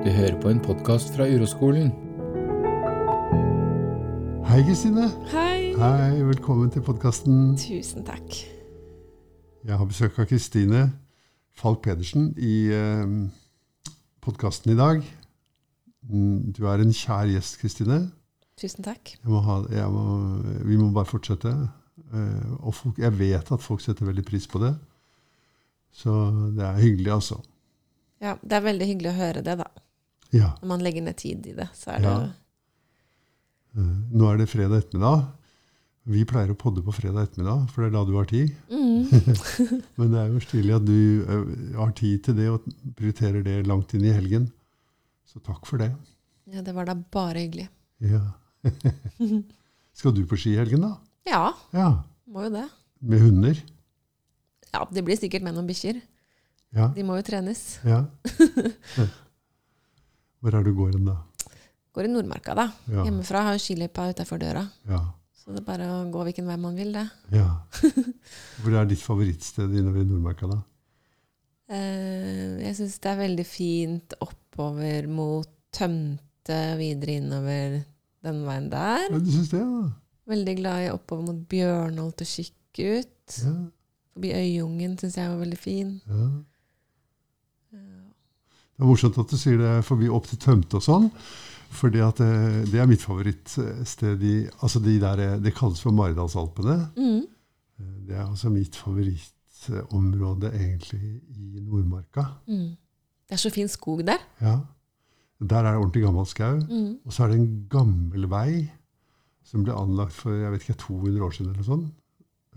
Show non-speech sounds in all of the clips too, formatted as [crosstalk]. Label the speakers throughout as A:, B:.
A: Du hører på en podkast fra Uroskolen.
B: Hei, Kristine.
C: Hei.
B: Hei, Velkommen til podkasten.
C: Tusen takk.
B: Jeg har besøk av Kristine Falk Pedersen i eh, podkasten i dag. Mm, Du er en kjær gjest, Kristine.
C: Tusen takk.
B: Jeg må ha- jeg må- Vi må bare fortsette. Eh, og folk, jeg vet at folk setter veldig pris på det. Så det er hyggelig, altså.
C: Ja, det er veldig hyggelig å høre det, da.
B: Ja.
C: Når man legger ned tid i det, så er det
B: Ja. eh, Nå er det fredag ettermiddag. Vi pleier å podde på fredag ettermiddag, for det er da du har tid.
C: mm,
B: Men det er jo stilig at du ø, har tid til det og prioriterer det langt inn i helgen. Så takk for det.
C: Ja, det var da bare hyggelig.
B: Ja. [laughs] Skal du på ski i helgen, da?
C: Ja,
B: Ja.
C: må jo det.
B: Med hunder?
C: Ja, det blir sikkert med noen bikkjer.
B: Ja.
C: De må jo trenes.
B: ja. Hvor er det du går hen, da?
C: Går i Nordmarka, da.
B: Ja.
C: Hjemmefra har jo skiløypa utafor døra.
B: Ja.
C: Så det er bare å gå hvilken vei man vil, det.
B: ja. Hvor er ditt favorittsted innover i Nordmarka, da?
C: Eh, jeg syns det er veldig fint oppover mot Tømte, videre innover den veien der.
B: Ja, du syns det, ja?
C: Veldig glad i oppover mot Bjørnholt og Kikkut.
B: ja.
C: Forbi Øyungen syns jeg var veldig fin.
B: ja. Det er morsomt at du sier det forbi opp til Tømte og sånn. For det, det er mitt favorittsted i altså de der, Det kalles for Maridalsalpene.
C: Mm.
B: Det er altså mitt favorittområde egentlig i Nordmarka.
C: Mm. Det er så fin skog der.
B: Ja. Der er det ordentlig gammel skau.
C: Mm.
B: Og så er det en gammel vei som ble anlagt for jeg vet ikke, 200 år siden, eller sånn,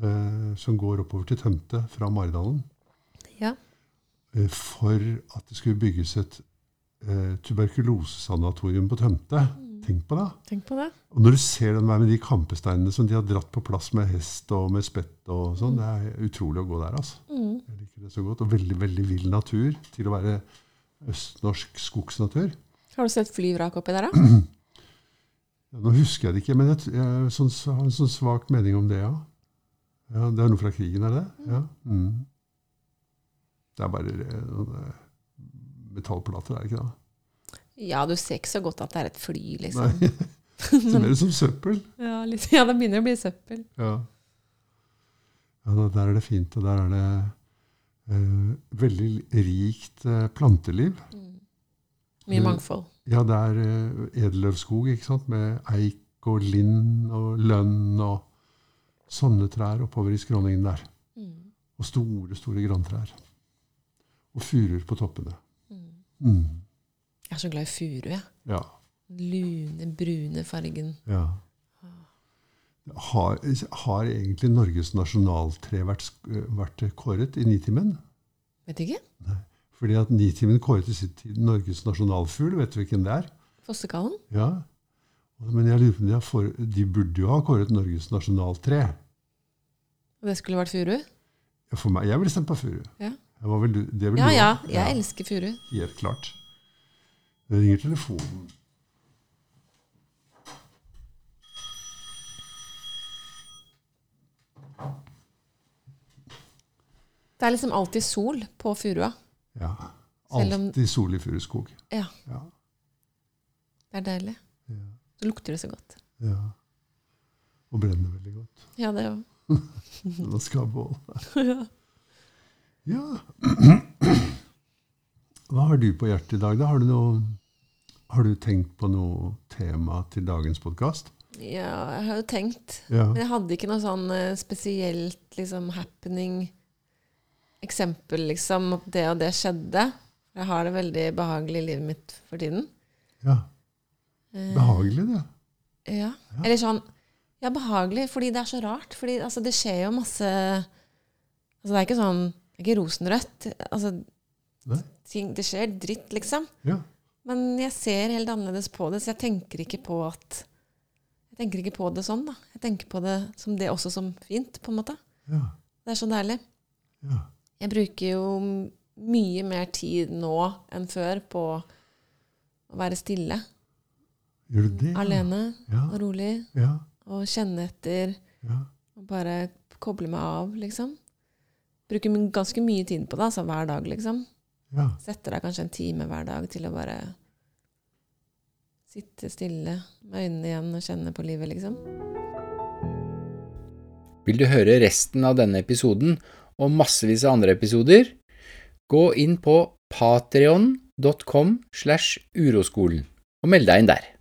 B: eh, som går oppover til Tømte fra Maridalen.
C: Ja.
B: eh, for at det skulle bygges et eh, tuberkulosesanatorium på Tømte. Tenk på det!
C: Tenk på det.
B: Og når du ser den veien med de kampesteinene som de har dratt på plass med hest og med spett og sånn, det er utrolig å gå der, altså.
C: Mm.
B: Jeg liker det så godt. Og veldig, veldig vill natur til å være østnorsk skogsnatur.
C: Har du sett flyvrak oppi der, da?
B: Ja, nå husker jeg det ikke, men jeg, t- jeg sånn, s- har en sånn svak mening om det, ja. ja. Det er noe fra krigen, er det? Ja. Mm. Det er bare eh, noen eh, metallplater, er det ikke det?
C: Ja, du ser ikke så godt at det er et fly, liksom.
B: Nei. Det
C: [laughs]
B: ser mer ut som søppel.
C: Ja, litt, ja, det begynner å bli søppel.
B: Ja. ja, da- der er det fint, og der er det eh, veldig rikt eh, planteliv.
C: Mm. Mye
B: Mm.
C: mangfold.
B: Ja, det er eh, edelløvskog, ikke sant, med eik og linn og lønn og sånne trær oppover i skråningen der.
C: Mm.
B: Og store, store grantrær. Og furuer på toppene.
C: Mm.
B: Mm.
C: Jeg er så glad i furu, jeg.
B: Ja.
C: Den Lune, brune fargen.
B: ja. Har, har egentlig Norges nasjonaltre vært, sk- eh, vært kåret i Nitimen?
C: Vet ikke?
B: Fordi at Nitimen kåret i sin tid Norges nasjonalfugl. Vet du hvilken det er?
C: Fossekallen?
B: Ja. Men jeg lurer på om de, har for, de burde jo ha kåret Norges nasjonaltre.
C: Og det skulle vært furu?
B: Ja, For meg, jeg ville stemt på furu.
C: Ja.
B: Det var vel du- det vil
C: Ja
B: du
C: ja,
B: også?
C: jeg elsker furu.
B: Helt klart. Det ringer telefonen.
C: Det er liksom alltid sol på furua.
B: Ja.
C: Selv om-
B: Alltid sol i furuskog.
C: Ja,
B: Ja.
C: det er deilig.
B: Ja.
C: Så lukter det så godt.
B: ja. Og brenner veldig godt.
C: Ja, det er jo
B: Den skal ha bål. [laughs] Ja. Hva har du på hjertet i dag? Da? Har, du noe, har du tenkt på noe tema til dagens podkast?
C: Ja, jeg har jo tenkt.
B: Ja.
C: Men jeg hadde ikke noe sånn eh, spesielt liksom, happening eksempel, liksom, at det og det skjedde. Jeg har det veldig behagelig i livet mitt for tiden.
B: ja.
C: Eh,
B: Behagelig, det.
C: Ja. Eller sånn Ja, behagelig, fordi det er så rart. Fordi altså, det skjer jo masse Altså, det er ikke sånn Det er ikke rosenrødt. Altså,
B: Nei.
C: ting, det skjer dritt, liksom.
B: Ja.
C: Men jeg ser helt annerledes på det, så jeg tenker ikke på at Jeg tenker ikke på det sånn, da. Jeg tenker på det som det også som fint, på en måte.
B: Ja.
C: Det er så deilig.
B: ja.
C: Jeg bruker jo m- mye mer tid nå enn før på å være stille,
B: Gjør du det?
C: alene
B: Ja.
C: og rolig,
B: Ja.
C: og kjenne etter
B: ja.
C: og bare koble meg av, liksom. Bruker m- ganske mye tid på det, altså hver dag, liksom.
B: ja.
C: Setter deg kanskje en time hver dag til å bare Sitte stille med øynene igjen og kjenne på livet, liksom.
A: Vil du høre resten av denne episoden og massevis av andre episoder? Gå inn på patreon.com slash uroskolen og meld deg inn der.